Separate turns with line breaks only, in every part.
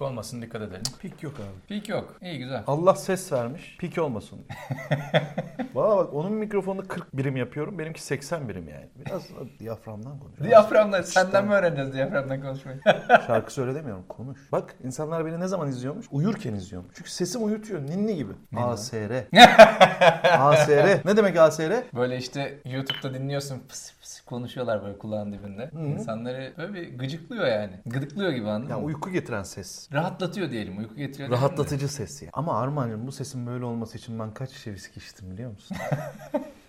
Olmasın dikkat edelim.
Pik yok abi.
Pik yok. İyi güzel.
Allah ses vermiş. Pik olmasın. Valla bak onun mikrofonunu 40 birim yapıyorum. Benimki 80 birim yani. Biraz da diyaframdan konuş.
Diyaframla senden mi öğreneceğiz diyaframdan konuşmayı?
Şarkı söyledemiyorum. Konuş. Bak insanlar beni ne zaman izliyormuş? Uyurken izliyormuş. Çünkü sesim uyutuyor. Ninni gibi. ASR. ASR. Ne demek ASR?
böyle işte YouTube'da dinliyorsun pıs pıs konuşuyorlar böyle kulağın dibinde. İnsanları böyle bir gıcıklıyor yani. Gıdıklıyor gibi anladın
Yani
mı?
uyku getiren ses.
Rahatlatıyor diyelim. Uyku getiriyor. diyelim de.
Rahatlatıcı ses ya. Ama Armağan'cığım bu sesin böyle olması için ben kaç şişe viski içtim biliyor musun?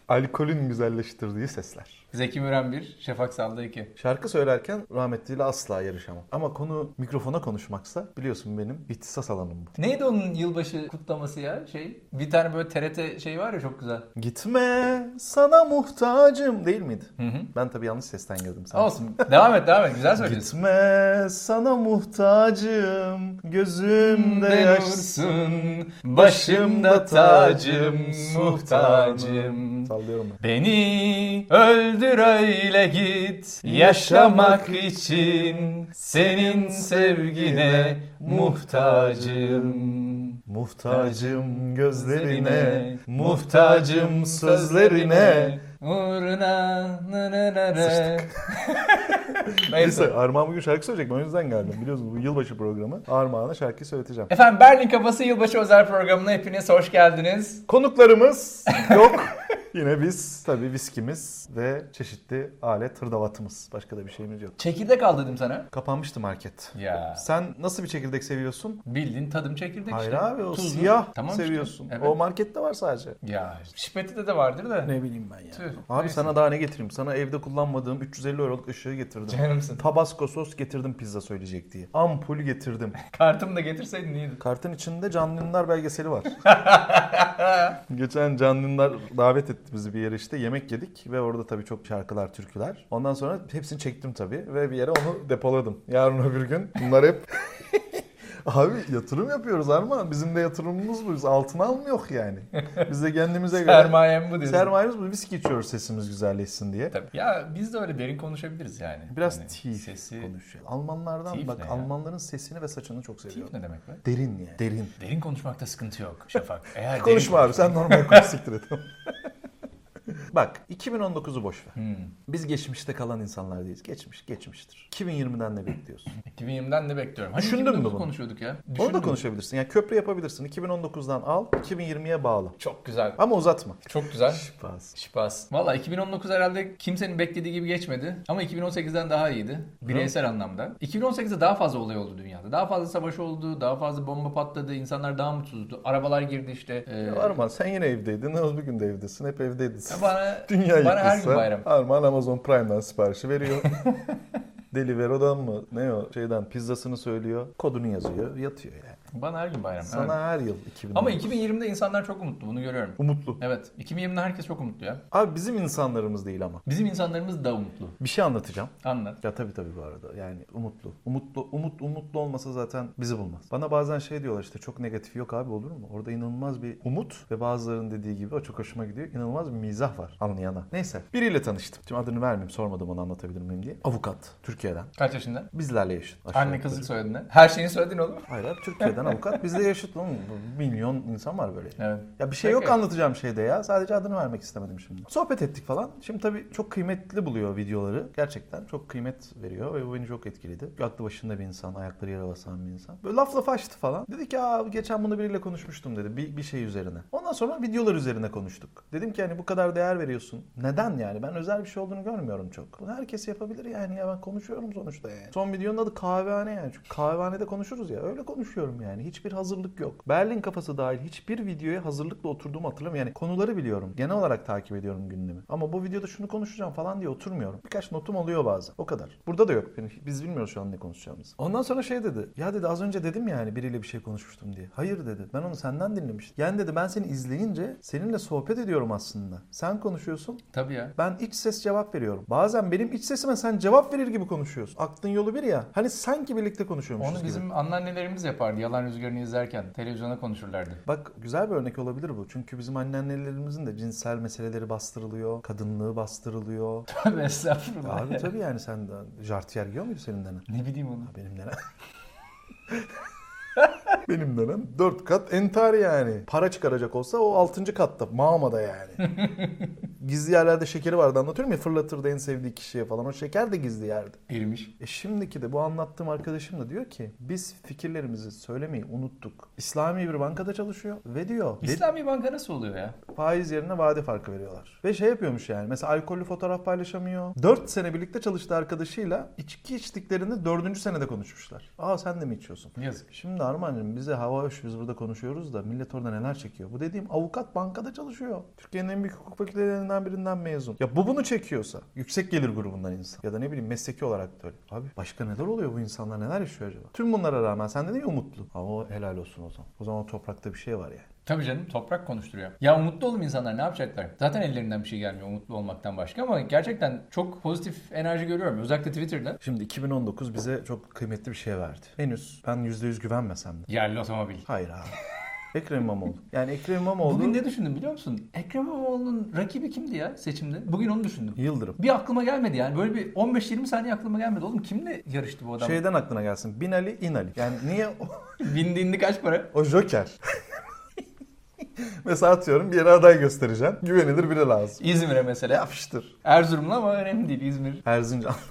Alkolün güzelleştirdiği sesler.
Zeki Müren 1, Şafak Salda 2.
Şarkı söylerken rahmetliyle asla yarışamam. Ama konu mikrofona konuşmaksa biliyorsun benim ihtisas alanım bu.
Neydi onun yılbaşı kutlaması ya? Şey, bir tane böyle TRT şey var ya çok güzel.
Gitme sana muhtacım değil miydi?
Hı hı.
Ben tabii yanlış sesten girdim sana.
Olsun. devam et, devam et. Güzel söylüyorsun.
Gitme sana muhtacım gözümde yaşsın.
Denursun, başımda tacım, muhtacım.
Sallıyorum ben.
Beni öldür öyle git yaşamak için senin sevgine muhtacım.
Muhtacım gözlerine, muhtacım sözlerine.
Uğruna nı nı nı nı. Neyse.
Neyse Armağan bugün şarkı söyleyecek ben o yüzden geldim. Biliyorsunuz bu yılbaşı programı Armağan'a şarkı söyleteceğim.
Efendim Berlin Kafası Yılbaşı Özel Programı'na hepiniz hoş geldiniz.
Konuklarımız yok. Yine biz tabii viskimiz ve çeşitli alet hırdavatımız. Başka da bir şeyimiz yok.
Çekirdek al dedim sana.
Kapanmıştı market.
Ya.
Sen nasıl bir çekirdek seviyorsun?
Bildiğin tadım çekirdek
Hayır
işte.
abi o
Tuzlu.
siyah
Tamam işte.
seviyorsun.
Evet.
O markette var sadece.
Ya Şipeti'de de vardır da.
Ne bileyim ben ya.
Tüh.
Abi
Neyse.
sana daha ne getireyim? Sana evde kullanmadığım 350 euroluk ışığı getirdim.
Canımsın.
Tabasco sos getirdim pizza söyleyecek diye. Ampul getirdim.
Kartımı da getirseydin iyiydi.
Kartın içinde Canlı Yayınlar belgeseli var. Geçen Canlı Yayınlar davet etti bizi bir yere işte yemek yedik ve orada tabii çok şarkılar, türküler. Ondan sonra hepsini çektim tabii ve bir yere onu depoladım. Yarın öbür gün bunlar hep... Abi yatırım yapıyoruz Armağan. Bizim de yatırımımız bu. Biz altın almıyor yani. Biz de kendimize göre...
Sermayem bu diyorsun.
Sermayemiz bu. Viski içiyoruz sesimiz güzelleşsin diye.
Tabii. Ya biz de öyle derin konuşabiliriz yani.
Biraz
Hani
tief
sesi.
konuşuyor. Almanlardan
Tief
bak
ne ya?
Almanların sesini ve saçını çok
Tief
seviyorum.
ne demek be?
Derin yani. Derin.
Derin konuşmakta sıkıntı yok Şafak. Eğer derin
Konuşma abi sen normal konuş siktir et. Bak 2019'u boş ver.
Hmm.
Biz geçmişte kalan insanlar değiliz. Geçmiş geçmiştir. 2020'den ne bekliyorsun?
2020'den de bekliyorum. Hani
Düşündün mü
2019
bunu?
konuşuyorduk ya.
Onu da
Düşündüm.
konuşabilirsin. Yani köprü yapabilirsin. 2019'dan al 2020'ye bağla.
Çok güzel.
Ama uzatma.
Çok güzel.
Şifası.
Şipas. Valla 2019 herhalde kimsenin beklediği gibi geçmedi. Ama 2018'den daha iyiydi. Bireysel anlamda. 2018'de daha fazla olay oldu dünyada. Daha fazla savaş oldu. Daha fazla bomba patladı. insanlar daha mutsuzdu. Arabalar girdi işte. Ee,
Arman sen yine evdeydin. Oğuz bir gün de evdesin. Hep evdeydin.
Bana,
Dünya
bana her gün
yıkılsa
bayram.
Armağan Amazon Prime'dan siparişi veriyor. Delivero'dan mı? Ne o? Şeyden pizzasını söylüyor. Kodunu yazıyor. Yatıyor yani.
Bana her gün bayram.
Sana her yıl 2000
Ama 2020'de insanlar çok umutlu bunu görüyorum.
Umutlu.
Evet 2020'de herkes çok umutlu ya.
Abi bizim insanlarımız değil ama.
Bizim insanlarımız da umutlu.
Bir şey anlatacağım.
Anlat.
Ya tabii tabii bu arada. Yani umutlu. Umutlu umut umutlu olmasa zaten bizi bulmaz. Bana bazen şey diyorlar işte çok negatif yok abi olur mu? Orada inanılmaz bir umut ve bazılarının dediği gibi o çok hoşuma gidiyor. İnanılmaz bir mizah var anlayana. Neyse biriyle tanıştım. Şimdi adını vermeyeyim sormadım onu anlatabilir miyim diye. Avukat Türkiye'den.
Kaç yaşında?
Bizlerle yaşıt. Aşağı
Anne
yukarı.
kızı soyadını. Her şeyini söyledin oğlum.
Hayır abi Türkiye'den avukat bizle yaşıt oğlum. Milyon insan var böyle.
Evet.
Ya bir şey
Peki.
yok anlatacağım şeyde ya. Sadece adını vermek istemedim şimdi. Sohbet ettik falan. Şimdi tabii çok kıymetli buluyor videoları. Gerçekten çok kıymet veriyor ve bu beni çok etkiledi. Aklı başında bir insan, ayakları yere basan bir insan. Böyle laf laf açtı falan. Dedi ki Aa, geçen bunu biriyle konuşmuştum dedi. Bir, bir şey üzerine. Ondan sonra videolar üzerine konuştuk. Dedim ki hani bu kadar değer veriyorsun. Neden yani? Ben özel bir şey olduğunu görmüyorum çok. Bunu herkes yapabilir yani. Ya ben konuşuyorum sonuçta yani. Son videonun adı kahvehane yani. Çünkü kahvehanede konuşuruz ya. Öyle konuşuyorum yani. Hiçbir hazırlık yok. Berlin kafası dahil hiçbir videoya hazırlıkla oturduğumu hatırlamıyorum. Yani konuları biliyorum. Genel olarak takip ediyorum gündemi. Ama bu videoda şunu konuşacağım falan diye oturmuyorum. Birkaç notum oluyor bazen. O kadar. Burada da yok. Yani biz bilmiyoruz şu an ne konuşacağımızı. Ondan sonra şey dedi. Ya dedi az önce dedim yani biriyle bir şey konuşmuştum diye. Hayır dedi. Ben onu senden dinlemiştim. Yani dedi ben seni izleyince seninle sohbet ediyorum aslında. Sen konuşuyorsun.
Tabii ya.
Ben iç ses cevap veriyorum. Bazen benim iç sesime sen cevap verir gibi konuşuyorsun. Aklın yolu bir ya. Hani sanki birlikte konuşuyormuşuz
Onu
gibi.
bizim anneannelerimiz yapardı. Yalan Rüzgarı'nı izlerken televizyona konuşurlardı.
Bak güzel bir örnek olabilir bu. Çünkü bizim anneannelerimizin de cinsel meseleleri bastırılıyor. Kadınlığı bastırılıyor.
Tabii estağfurullah.
Abi tabii yani sen de jartiyer giyiyor muydu senin de? ne?
Ne bileyim onu.
Benim de ne? Benim dönem 4 kat entari yani. Para çıkaracak olsa o 6. katta. Mağmada yani. gizli yerlerde şekeri vardı anlatıyorum ya fırlatırdı en sevdiği kişiye falan. O şeker de gizli yerde.
Erimiş.
E şimdiki de bu anlattığım arkadaşım da diyor ki biz fikirlerimizi söylemeyi unuttuk. İslami bir bankada çalışıyor ve diyor "Ve-
İslami banka nasıl oluyor ya?
faiz yerine vade farkı veriyorlar. Ve şey yapıyormuş yani mesela alkollü fotoğraf paylaşamıyor. 4 sene birlikte çalıştığı arkadaşıyla içki içtiklerini 4. senede konuşmuşlar. Aa sen de mi içiyorsun?
Yazık.
Şimdi Armancığım bize hava hoş biz burada konuşuyoruz da millet orada neler çekiyor. Bu dediğim avukat bankada çalışıyor. Türkiye'nin en büyük hukuk fakültelerinden birinden mezun. Ya bu bunu çekiyorsa yüksek gelir grubundan insan ya da ne bileyim mesleki olarak da öyle. Abi başka neler oluyor bu insanlar neler yaşıyor acaba? Tüm bunlara rağmen sen dedin ya umutlu. Ama o helal olsun o zaman. O zaman o toprakta bir şey var yani.
Tabii canım toprak konuşturuyor. Ya umutlu olun insanlar ne yapacaklar? Zaten ellerinden bir şey gelmiyor umutlu olmaktan başka ama gerçekten çok pozitif enerji görüyorum. Özellikle Twitter'da.
Şimdi 2019 bize çok kıymetli bir şey verdi. Henüz ben %100 güvenmesem de.
Yerli otomobil.
Hayır abi. Ekrem İmamoğlu. Yani Ekrem İmamoğlu
Bugün ne düşündüm biliyor musun? Ekrem İmamoğlu'nun rakibi kimdi ya seçimde? Bugün onu düşündüm.
Yıldırım.
Bir aklıma gelmedi yani. Böyle bir 15-20 saniye aklıma gelmedi. Oğlum kimle yarıştı bu adam?
Şeyden aklına gelsin. Binali İnali. Yani niye o,
Bindiğinde kaç para?
o Joker? Mesela atıyorum bir yere aday göstereceğim. Güvenilir biri lazım.
İzmir'e mesela.
Yapıştır.
Erzurumlu ama önemli değil İzmir.
Erzincan.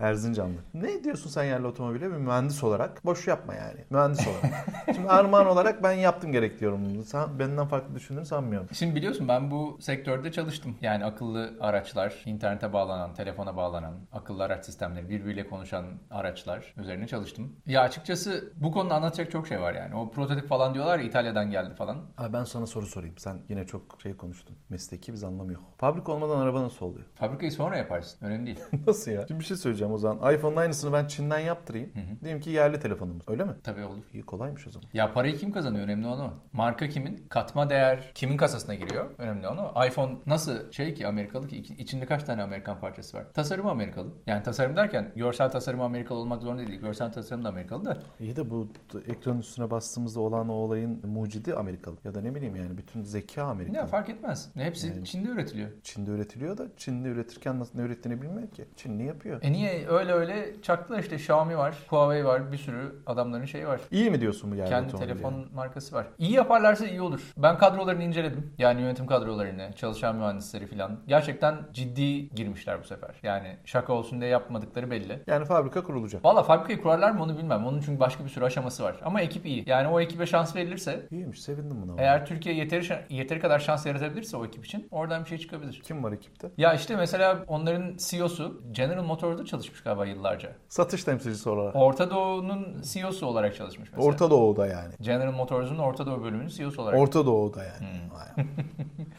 Erzincanlı. Ne diyorsun sen yerli otomobile? Bir mühendis olarak. Boş yapma yani. Mühendis olarak. Şimdi armağan olarak ben yaptım gerek diyorum bunu. Sen, benden farklı düşündüğünü sanmıyorum.
Şimdi biliyorsun ben bu sektörde çalıştım. Yani akıllı araçlar, internete bağlanan, telefona bağlanan, akıllı araç sistemleri, birbiriyle konuşan araçlar üzerine çalıştım. Ya açıkçası bu konuda anlatacak çok şey var yani. O prototip falan diyorlar ya, İtalya'dan geldi falan.
Abi ben sana soru sorayım. Sen yine çok şey konuştun. Mesleki biz anlamıyor. Fabrika olmadan araba nasıl oluyor?
Fabrikayı sonra yaparsın. Önemli değil.
nasıl ya? Şimdi bir şey söyleyeceğim o zaman. iPhone'un aynısını ben Çin'den yaptırayım. Diyelim ki yerli telefonumuz. Öyle mi?
Tabii olur.
İyi kolaymış o zaman.
Ya parayı kim kazanıyor? Önemli olan o. Marka kimin? Katma değer kimin kasasına giriyor? Önemli olan o. iPhone nasıl şey ki Amerikalı ki İç- içinde kaç tane Amerikan parçası var? Tasarım Amerikalı. Yani tasarım derken görsel tasarım Amerikalı olmak zorunda değil. Görsel tasarım da Amerikalı da.
İyi de bu t- ekranın üstüne bastığımızda olan o olayın mucidi Amerikalı. Ya da ne bileyim yani bütün zeka Amerikalı.
Ya fark etmez. Hepsi Çin'de üretiliyor.
Çin'de üretiliyor da Çin'de üretirken nasıl ne ürettiğini bilmiyor ki. Çinli yapıyor.
E niye öyle öyle çaktılar işte Xiaomi var, Huawei var, bir sürü adamların şeyi var.
İyi mi diyorsun bu yerli
Kendi
otomobili?
telefon markası var. İyi yaparlarsa iyi olur. Ben kadrolarını inceledim. Yani yönetim kadrolarını, çalışan mühendisleri falan. Gerçekten ciddi girmişler bu sefer. Yani şaka olsun diye yapmadıkları belli.
Yani fabrika kurulacak.
Valla fabrikayı kurarlar mı onu bilmem. Onun çünkü başka bir sürü aşaması var. Ama ekip iyi. Yani o ekibe şans verilirse,
İyiymiş sevindim buna.
eğer Türkiye yeteri, şa- yeteri kadar şans yaratabilirse o ekip için oradan bir şey çıkabilir.
Kim var ekipte?
Ya işte mesela onların CEO'su General Motors'da çalışmış galiba yıllarca.
Satış temsilcisi olarak.
Orta Doğu'nun CEO'su olarak çalışmış mesela.
Orta Doğu'da yani.
General Motors'un Orta Doğu bölümünün CEO'su olarak. Hmm.
Orta Doğu'da yani. Vay.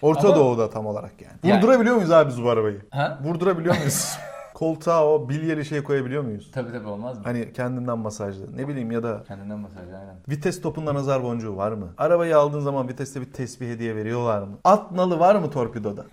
Orta
Ama-
Doğu'da tam olarak yani.
Yani-
Vurdurabiliyor muyuz abi biz bu arabayı?
ha?
Vurdurabiliyor muyuz? Koltuğa o bilyeli şey koyabiliyor muyuz?
Tabii tabii olmaz mı?
Hani kendinden masajlı. Ne bileyim ya da
Kendinden masaj aynen.
vites topunda nazar boncuğu var mı? Arabayı aldığın zaman viteste bir tesbih hediye veriyorlar mı? At nalı var mı torpidoda?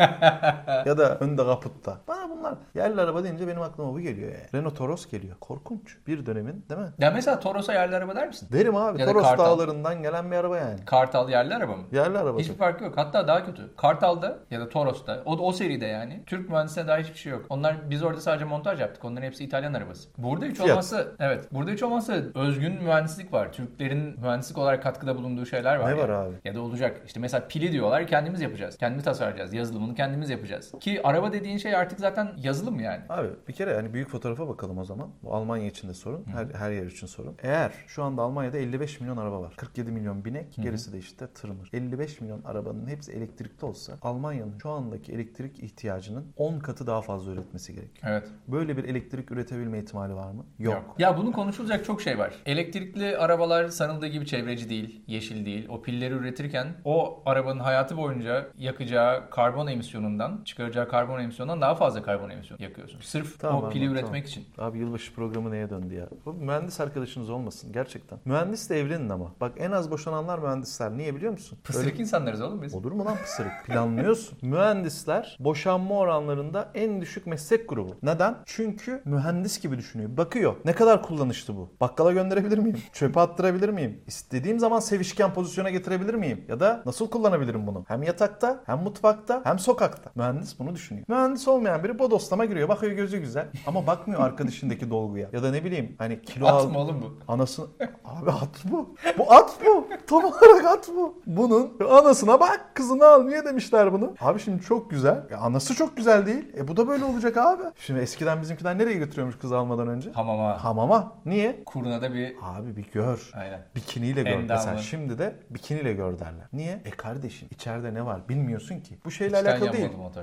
ya da önde kaputta. Bana bunlar yerli araba deyince benim aklıma bu geliyor yani. Renault Toros geliyor. Korkunç. Bir dönemin değil mi?
Ya mesela Toros'a yerli araba der misin?
Derim abi.
Ya da
Toros
Kartal.
dağlarından gelen bir araba yani.
Kartal yerli araba mı?
Yerli araba.
Hiçbir farkı yok. Hatta daha kötü. Kartal'da ya da Toros'ta o, o seride yani Türk mühendisine dair hiçbir şey yok. Onlar biz orada sadece montaj yaptık. Onların hepsi İtalyan arabası. Burada hiç
Fiyat.
olmazsa evet. Burada hiç olmazsa özgün mühendislik var. Türklerin mühendislik olarak katkıda bulunduğu şeyler var.
Ne var
yani.
abi?
Ya da olacak. İşte mesela pili diyorlar kendimiz yapacağız. Kendimiz tasarlayacağız. Yazılımını kendimiz yapacağız. Ki araba dediğin şey artık zaten yazılım yani.
Abi bir kere yani büyük fotoğrafa bakalım o zaman. Bu Almanya için de sorun. Her, her yer için sorun. Eğer şu anda Almanya'da 55 milyon araba var. 47 milyon binek gerisi de işte tırmır. 55 milyon arabanın hepsi elektrikli olsa Almanya'nın şu andaki elektrik ihtiyacının 10 katı daha fazla üretmesi gerekiyor.
Evet.
Böyle bir elektrik üretebilme ihtimali var mı? Yok.
Ya bunun konuşulacak çok şey var. Elektrikli arabalar sanıldığı gibi çevreci değil, yeşil değil. O pilleri üretirken o arabanın hayatı boyunca yakacağı karbon emisyonundan, çıkaracağı karbon emisyonundan daha fazla karbon emisyon yakıyorsun. Sırf
Tamam
o
abi,
pili
tamam.
üretmek için.
Abi yılbaşı programı neye döndü ya? Bu mühendis arkadaşınız olmasın gerçekten. Mühendisle evlenin ama. Bak en az boşananlar mühendisler. Niye biliyor musun? Böyle-
Pısırık insanlarız oğlum biz.
Olur mu lan pısırık? Planlıyorsun. Mühendisler boşanma oranlarında en düşük meslek grubu. Neden? Neden? Çünkü mühendis gibi düşünüyor. Bakıyor. Ne kadar kullanışlı bu? Bakkala gönderebilir miyim? Çöpe attırabilir miyim? İstediğim zaman sevişken pozisyona getirebilir miyim? Ya da nasıl kullanabilirim bunu? Hem yatakta, hem mutfakta, hem sokakta. Mühendis bunu düşünüyor. Mühendis olmayan biri bodoslama giriyor. Bakıyor gözü güzel ama bakmıyor arkadaşındaki dolguya. Ya da ne bileyim hani kilo al-
At mı oğlum bu?
Anasını... Abi at bu. Bu at bu. Tam olarak at bu. Bunun anasına bak kızını al. Niye demişler bunu? Abi şimdi çok güzel. E, anası çok güzel değil. E bu da böyle olacak abi. Şimdi eskiden bizimkiler nereye götürüyormuş kız almadan önce?
Hamama.
Hamama. Niye?
Kuruna da bir...
Abi bir gör.
Aynen.
Bikiniyle gör.
Endamlı.
Mesela şimdi de bikiniyle gör derler. Niye? E kardeşim içeride ne var bilmiyorsun ki. Bu şeyle
İçten
alakalı değil.
yanmadı motor.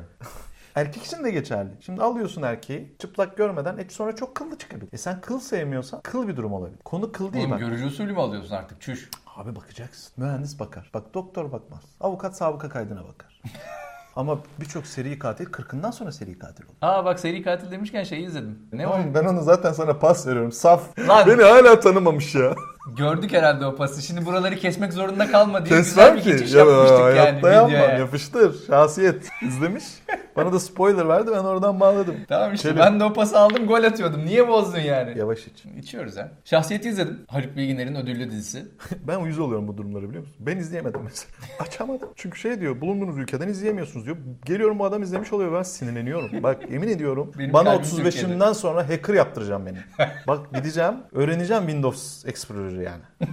Erkek için de geçerli. Şimdi alıyorsun erkeği çıplak görmeden et sonra çok kıllı çıkabilir. E sen kıl sevmiyorsan kıl bir durum olabilir. Konu kıl değil
Oğlum
bak.
görücü usulü mü alıyorsun artık? Çüş.
Abi bakacaksın. Mühendis bakar. Bak doktor bakmaz. Avukat sabıka kaydına bakar. Ama birçok seri katil 40'ından sonra seri katil olur.
Aa bak seri katil demişken şeyi izledim. Ne o?
ben onu zaten sana pas veriyorum. Saf.
Lan. Beni
hala tanımamış ya.
Gördük herhalde o pası. Şimdi buraları kesmek zorunda kalma diye güzel bir geçiş yapmıştık yani videoya.
Yapıştır. Şahsiyet. İzlemiş. Bana da spoiler verdi. Ben oradan bağladım.
Tamam işte
Kerim.
ben de o pası aldım gol atıyordum. Niye bozdun yani?
Yavaş iç.
İçiyoruz ha. Şahsiyeti izledim. Haluk Bilginer'in ödüllü dizisi.
Ben uyuz oluyorum bu durumlara biliyor musun? Ben izleyemedim mesela. Açamadım. Çünkü şey diyor bulunduğunuz ülkeden izleyemiyorsunuz diyor. Geliyorum bu adam izlemiş oluyor ben sinirleniyorum. Bak yemin ediyorum
Benim
bana
kalbim
35'imden sonra hacker yaptıracağım beni. Bak gideceğim öğreneceğim Windows Explorer'ı yani.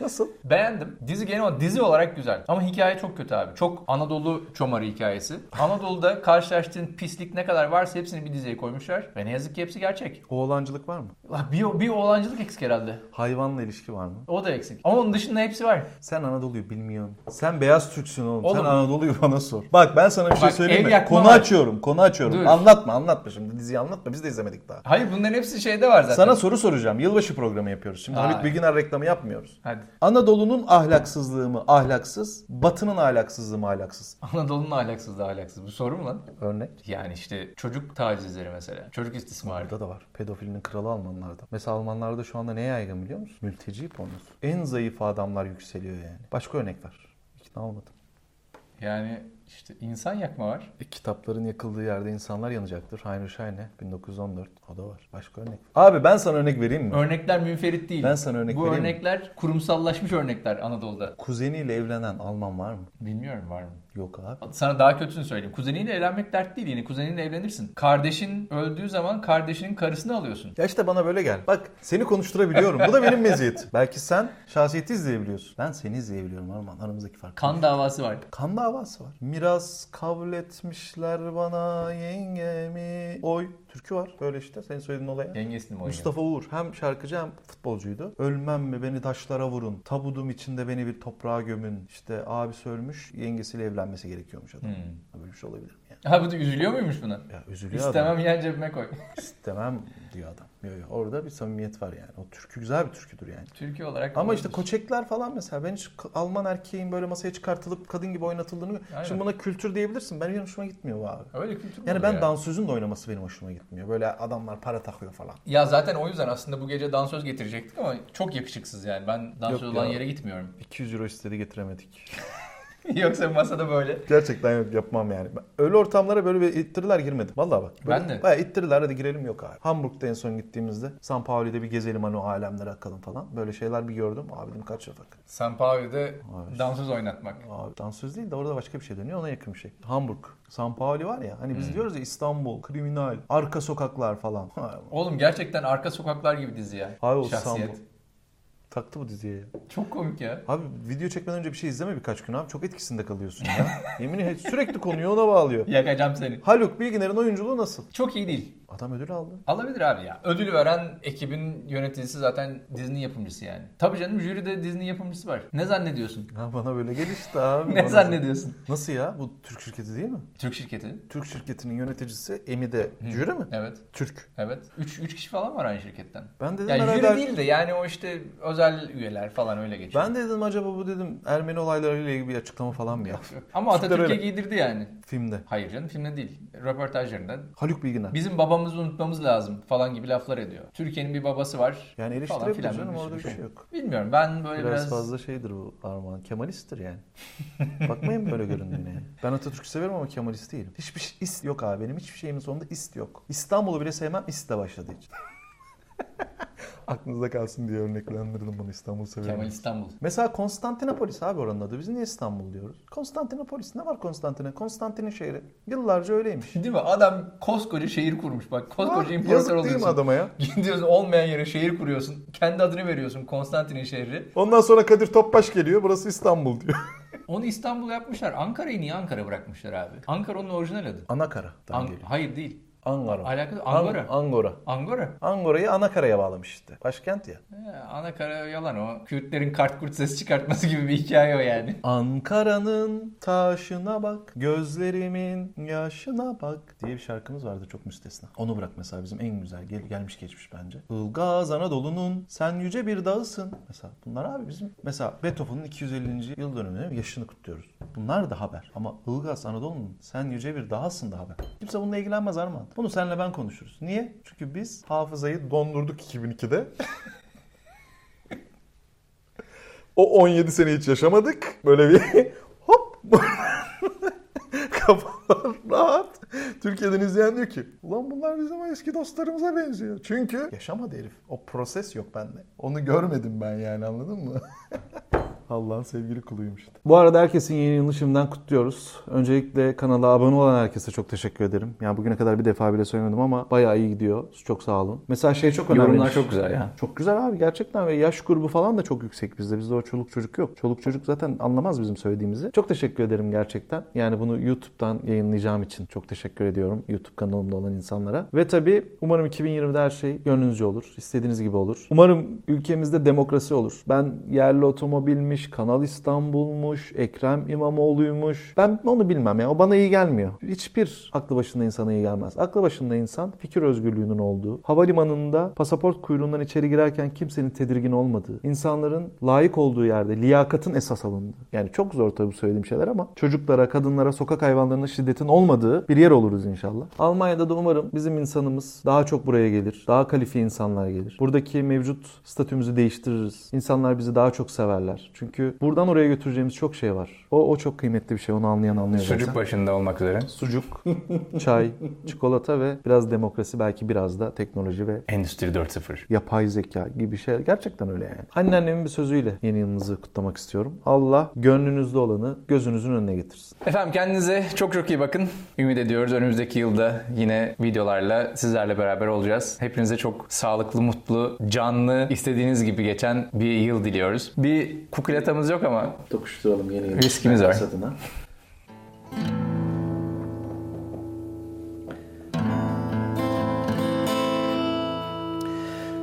Nasıl?
Beğendim. Dizi genel olarak dizi olarak güzel. Ama hikaye çok kötü abi. Çok Anadolu çomarı hikayesi. Anadolu'da karşılaştığın pislik ne kadar varsa hepsini bir diziye koymuşlar. Ve ne yazık ki hepsi gerçek.
Oğlancılık var mı?
Ulan Bir, bir oğlancılık eksik herhalde.
Hayvanla ilişki var mı?
O da eksik. Ama onun dışında hepsi var.
Sen Anadolu'yu bilmiyorsun. Sen beyaz Türksün oğlum. Sen
Oğlum.
Anadolu'yu bana sor. Bak ben sana bir şey
Bak,
söyleyeyim
ev
mi?
yakma
Konu
var.
açıyorum. Konu açıyorum.
Dur.
Anlatma anlatma şimdi. Diziyi anlatma. Biz de izlemedik daha.
Hayır bunların hepsi şeyde var zaten.
Sana soru soracağım. Yılbaşı programı yapıyoruz. Şimdi
Aa,
Haluk Bilginer reklamı yapmıyoruz.
Hadi.
Anadolu'nun ahlaksızlığı mı ahlaksız, Batı'nın ahlaksızlığı mı ahlaksız?
Anadolu'nun ahlaksız da ahlaksız. Bu soru mu lan?
Örnek.
Yani işte çocuk tacizleri mesela. Çocuk istismarı.
Burada da var. Pedofilinin kralı Almanlarda. Mesela Almanlarda şu anda ne yaygın biliyor musun? Mülteci pornosu. En zayıf adamlar yükseliyor yani. Başka örnek var. İkna olmadım.
Yani işte insan yakma var.
E, kitapların yakıldığı yerde insanlar yanacaktır. Heinrich Heine 1914. O da var. Başka örnek. Abi ben sana örnek vereyim mi?
Örnekler münferit değil.
Ben sana örnek
Bu
vereyim mi?
örnekler kurumsallaşmış örnekler Anadolu'da.
Kuzeniyle evlenen Alman var mı?
Bilmiyorum var mı?
Yok abi.
Sana daha kötüsünü söyleyeyim. Kuzeniyle evlenmek dert değil. Yine kuzeninle evlenirsin. Kardeşin öldüğü zaman kardeşinin karısını alıyorsun.
Ya işte bana böyle gel. Bak seni konuşturabiliyorum. Bu da benim meziyetim. Belki sen şahsiyeti izleyebiliyorsun. Ben seni izleyebiliyorum Arman. Aramızdaki fark.
Kan davası var.
Kan davası var. Miras kavul etmişler bana yengemi. Oy. Türkü var. Böyle işte. Senin söylediğin olaya.
Yengesini mi oynuyor?
Mustafa Uğur hem şarkıcı hem futbolcuydu. Ölmem mi beni taşlara vurun. Tabudum içinde beni bir toprağa gömün. İşte abisi ölmüş yengesiyle evlenmesi gerekiyormuş adam.
Hmm.
Böyle bir şey olabilir mi yani?
Ha bu da üzülüyor muymuş buna?
Ya üzülüyor adam.
İstemem yan cebime koy.
İstemem diyor adam. Yo, yo. Orada bir samimiyet var yani. O türkü güzel bir türküdür yani.
Türkiye olarak
Ama
olabilir.
işte koçekler falan mesela ben hiç Alman erkeğin böyle masaya çıkartılıp kadın gibi oynatıldığını
Aynen.
şimdi buna kültür diyebilirsin. Benim hoşuma gitmiyor bu abi.
Öyle kültür mü
Yani
olur
ben
ya?
dansözün de oynaması benim hoşuma gitmiyor. Böyle adamlar para takıyor falan.
Ya zaten o yüzden aslında bu gece dansöz getirecektik ama çok yakışıksız yani. Ben dansöz
Yok
olan
ya.
yere gitmiyorum.
200 euro istedi getiremedik.
Yoksa masada böyle.
Gerçekten yok yapmam yani. Ben Öyle ortamlara böyle bir ittiriler girmedim. Vallahi bak. Böyle
Ben de.
Bayağı ittiriler hadi girelim yok abi. Hamburg'da en son gittiğimizde San Pauli'de bir gezelim hani o alemlere akalım falan. Böyle şeyler bir gördüm. Abi dedim kaç şafak.
San Pauli'de
Abi.
dansöz oynatmak.
Abi dansöz değil de orada başka bir şey dönüyor ona yakın bir şey. Hamburg, San Pauli var ya hani biz
Hmm.
diyoruz ya İstanbul, kriminal, arka sokaklar falan. Ha,
Oğlum gerçekten arka sokaklar gibi dizi ya.
Abi o
Şahsiyet.
İstanbul. Taktı bu diziye ya.
Çok komik ya.
Abi video çekmeden önce bir şey izleme birkaç gün abi. Çok etkisinde kalıyorsun ya. Yemin ederim sürekli konuyu ona bağlıyor.
Yakacağım seni.
Haluk Bilginer'in oyunculuğu nasıl?
Çok iyi değil.
Adam ödül aldı.
Alabilir abi ya. Ödülü veren ekibin yöneticisi zaten Disney yapımcısı yani. Tabii canım jüride Disney yapımcısı var. Ne zannediyorsun?
Ya bana böyle gelişti abi.
ne
Bana-
zannediyorsun?
Nasıl ya? Bu Türk şirketi değil mi?
Türk şirketi.
Türk şirketinin yöneticisi Emide Jüri mi?
Evet.
Türk.
Evet. 3 3 kişi falan var aynı şirketten.
Ben dedim
Yani jüri
herhalde- er-
değil de yani o işte özel üyeler falan öyle geçiyor.
Ben de dedim acaba bu dedim Ermeni olaylarıyla ilgili bir açıklama falan mı ya?
Ama
Türkler
Atatürk'e
öyle.
giydirdi yani.
Filmde.
Hayır canım filmde değil. Röportajlarında.
Haluk Bilginer.
Bizim babam
babamızı unutmamız lazım falan gibi laflar ediyor. Türkiye'nin bir babası var.
Yani
falan filan
eleştirebiliriz canım
bir
orada bir
sürü
şey yok.
Bilmiyorum ben böyle
Biraz,
biraz,
fazla şeydir bu Armağan. Kemalisttir yani. Bakmayın böyle göründüğüne. Ben Atatürk'ü severim ama Kemalist değilim. Hiçbir şey, ist yok abi benim. Hiçbir şeyimin sonunda ist yok. İstanbul'u bile sevmem istle başladığı için. Aklınızda kalsın diye örneklendirdim bunu İstanbul severim.
Kemal İstanbul.
Mesela Konstantinopolis abi oranın adı. Biz niye İstanbul diyoruz? Konstantinopolis. Ne var Konstantin'e? Konstantin'in şehri. Yıllarca öyleymiş.
Değil mi? Adam koskoca şehir kurmuş. Bak koskoca
Yazık
imparator
değil mi
oluyorsun.
adama ya?
Gidiyorsun olmayan yere şehir kuruyorsun. Kendi adını veriyorsun Konstantin'in şehri.
Ondan sonra Kadir Topbaş geliyor. Burası İstanbul diyor.
Onu İstanbul yapmışlar. Ankara'yı niye Ankara bırakmışlar abi? Ankara onun orijinal adı.
Anakara.
An- Hayır değil.
Angora.
Alakası
An-
Angora.
Angora.
Angora.
Angora'yı Anakara'ya bağlamış işte. Başkent ya.
He, Anakara yalan o. Kürtlerin kart kurt sesi çıkartması gibi bir hikaye o yani.
Ankara'nın taşına bak, gözlerimin yaşına bak diye bir şarkımız vardı çok müstesna. Onu bırak mesela bizim en güzel gel- gelmiş geçmiş bence. Ilgaz Anadolu'nun sen yüce bir dağısın. Mesela bunlar abi bizim mesela Beethoven'ın 250. yıl dönümünü yaşını kutluyoruz. Bunlar da haber ama Ilgaz Anadolu'nun sen yüce bir dağısın da haber. Kimse bununla ilgilenmez Armağan. Bunu senle ben konuşuruz. Niye? Çünkü biz hafızayı dondurduk 2002'de. O 17 sene hiç yaşamadık. Böyle bir hop kafalar rahat. Türkiye'den izleyen diyor ki ulan bunlar bizim eski dostlarımıza benziyor. Çünkü yaşamadı herif. O proses yok bende. Onu görmedim ben yani anladın mı? Allah'ın sevgili kuluymuş. Bu arada herkesin yeni yılını şimdiden kutluyoruz. Öncelikle kanala abone olan herkese çok teşekkür ederim. Ya bugüne kadar bir defa bile söylemedim ama bayağı iyi gidiyor. Çok sağ olun. Mesela şey çok önemli.
Yorumlar çok güzel ya.
Çok güzel abi gerçekten ve yaş grubu falan da çok yüksek bizde. Bizde o çoluk çocuk yok. Çoluk çocuk zaten anlamaz bizim söylediğimizi. Çok teşekkür ederim gerçekten. Yani bunu YouTube'dan yayınlayacağım için çok teşekkür ediyorum YouTube kanalımda olan insanlara. Ve tabii umarım 2020'de her şey gönlünüzce olur. istediğiniz gibi olur. Umarım ülkemizde demokrasi olur. Ben yerli otomobilmiş, Kanal İstanbul'muş, Ekrem İmamoğlu'ymuş. Ben onu bilmem ya. O bana iyi gelmiyor. Hiçbir aklı başında insana iyi gelmez. Aklı başında insan fikir özgürlüğünün olduğu, havalimanında pasaport kuyruğundan içeri girerken kimsenin tedirgin olmadığı, insanların layık olduğu yerde liyakatın esas alındığı. Yani çok zor tabii bu söylediğim şeyler ama çocuklara, kadınlara, sokak hayvanlarına şiddetin olmadığı bir yer oluruz inşallah. Almanya'da da umarım bizim insanımız daha çok buraya gelir. Daha kalifiye insanlar gelir. Buradaki mevcut statümüzü değiştiririz. İnsanlar bizi daha çok severler. Çünkü buradan oraya götüreceğimiz çok şey var. O, o çok kıymetli bir şey. Onu anlayan anlıyor. zaten.
Sucuk başında olmak üzere.
Sucuk, çay, çikolata ve biraz demokrasi belki biraz da teknoloji ve
Endüstri 4.0.
yapay zeka gibi şeyler. Gerçekten öyle yani. Anneannemin bir sözüyle yeni yılınızı kutlamak istiyorum. Allah gönlünüzde olanı gözünüzün önüne getirsin.
Efendim kendinize çok çok iyi bakın. Ümit ediyoruz önümüzdeki yılda yine videolarla sizlerle beraber olacağız. Hepinize çok sağlıklı, mutlu, canlı, istediğiniz gibi geçen bir yıl diliyoruz. Bir kukuletamız yok ama
Tokuşturalım yeni yıl.
Riskimiz var.
Maksadına.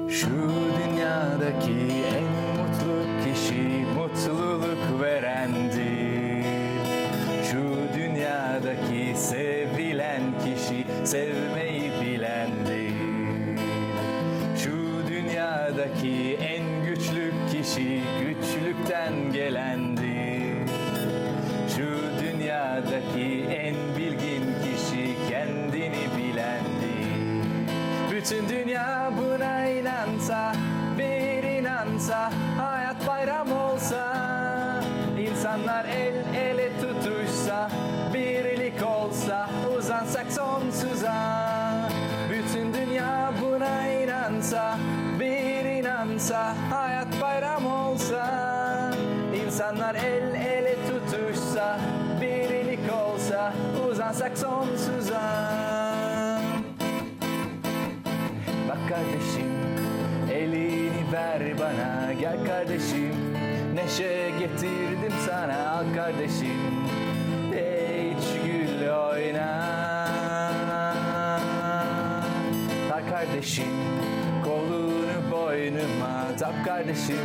Şu dünyadaki en mutlu kişi mutluluk verendir. Şu dünyadaki sevilen kişi sevmeyi bilendir. Şu dünyadaki en güçlü kişi güçlükten gelendir. Şu dünyadaki en bilgin kişi kendini bilendir. Bütün dünya buna inansa, bir inansa, hayat bayram olsa. İnsanlar el ele tutuşsa, birlik olsa, uzansak sonsuza. Bütün dünya buna inansa, bir inansa, hayat bayram olsa. İnsanlar el ele tutuşsa, birlik olsa, uzansak sonsuza. Bak kardeşim elini ver bana Gel kardeşim neşe getirdim sana Al kardeşim de iç gül oyna Al kardeşim kolunu boynuma Tap kardeşim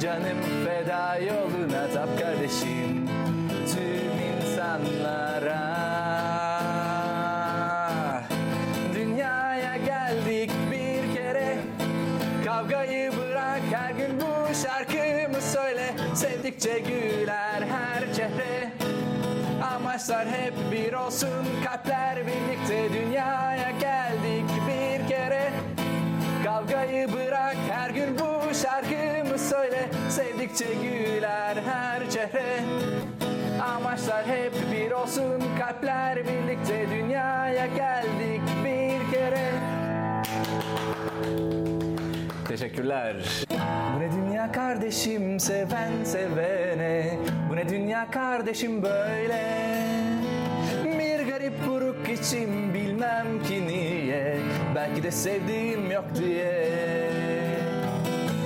canım feda yoluna Tap kardeşim tüm insanlara Dünyaya geldik bir kere Kavgayı bırak her gün bu şarkımı söyle Sevdikçe güler her çehre Amaçlar hep bir olsun kalpler birlikte Dünyaya geldik Kavgayı bırak her gün bu şarkımı söyle Sevdikçe güler her çehre Amaçlar hep bir olsun kalpler birlikte dünyaya geldik bir kere Teşekkürler. Bu ne dünya kardeşim seven sevene Bu ne dünya kardeşim böyle Bir garip buruk içim bilmem ki niye Belki de sevdiğim yok diye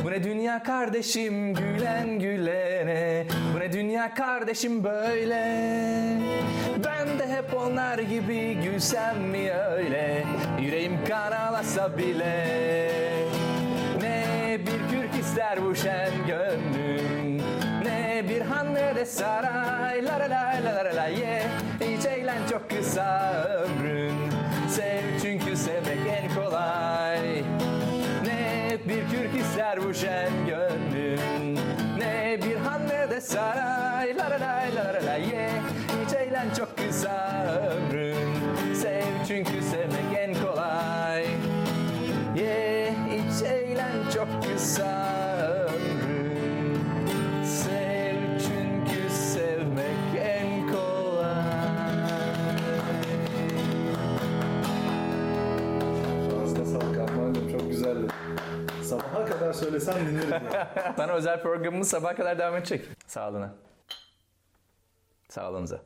Bu ne dünya kardeşim gülen gülene Bu ne dünya kardeşim böyle Ben de hep onlar gibi gülsem mi öyle Yüreğim karalasa bile ne bir kürk ister bu şen gönlüm Ne bir han ne de saray La la la la la la la ye Hiç eğlen çok kısa ömrün Sev çünkü sevmek en kolay Ne bir kürk ister bu şen gönlüm Ne bir han ne de saray La la la la la la ye Hiç eğlen çok kısa ömrün Sev çünkü sevmek en kolay Ye iç eğlen çok kısa ömrün Sev çünkü sevmek en kolay
Ağzına sağlık Armağan'cığım çok güzeldi. Sabaha kadar söylesen dinleriz ya.
Bana özel programımız sabaha kadar devam edecek. Sağlığına. Sağlığınıza.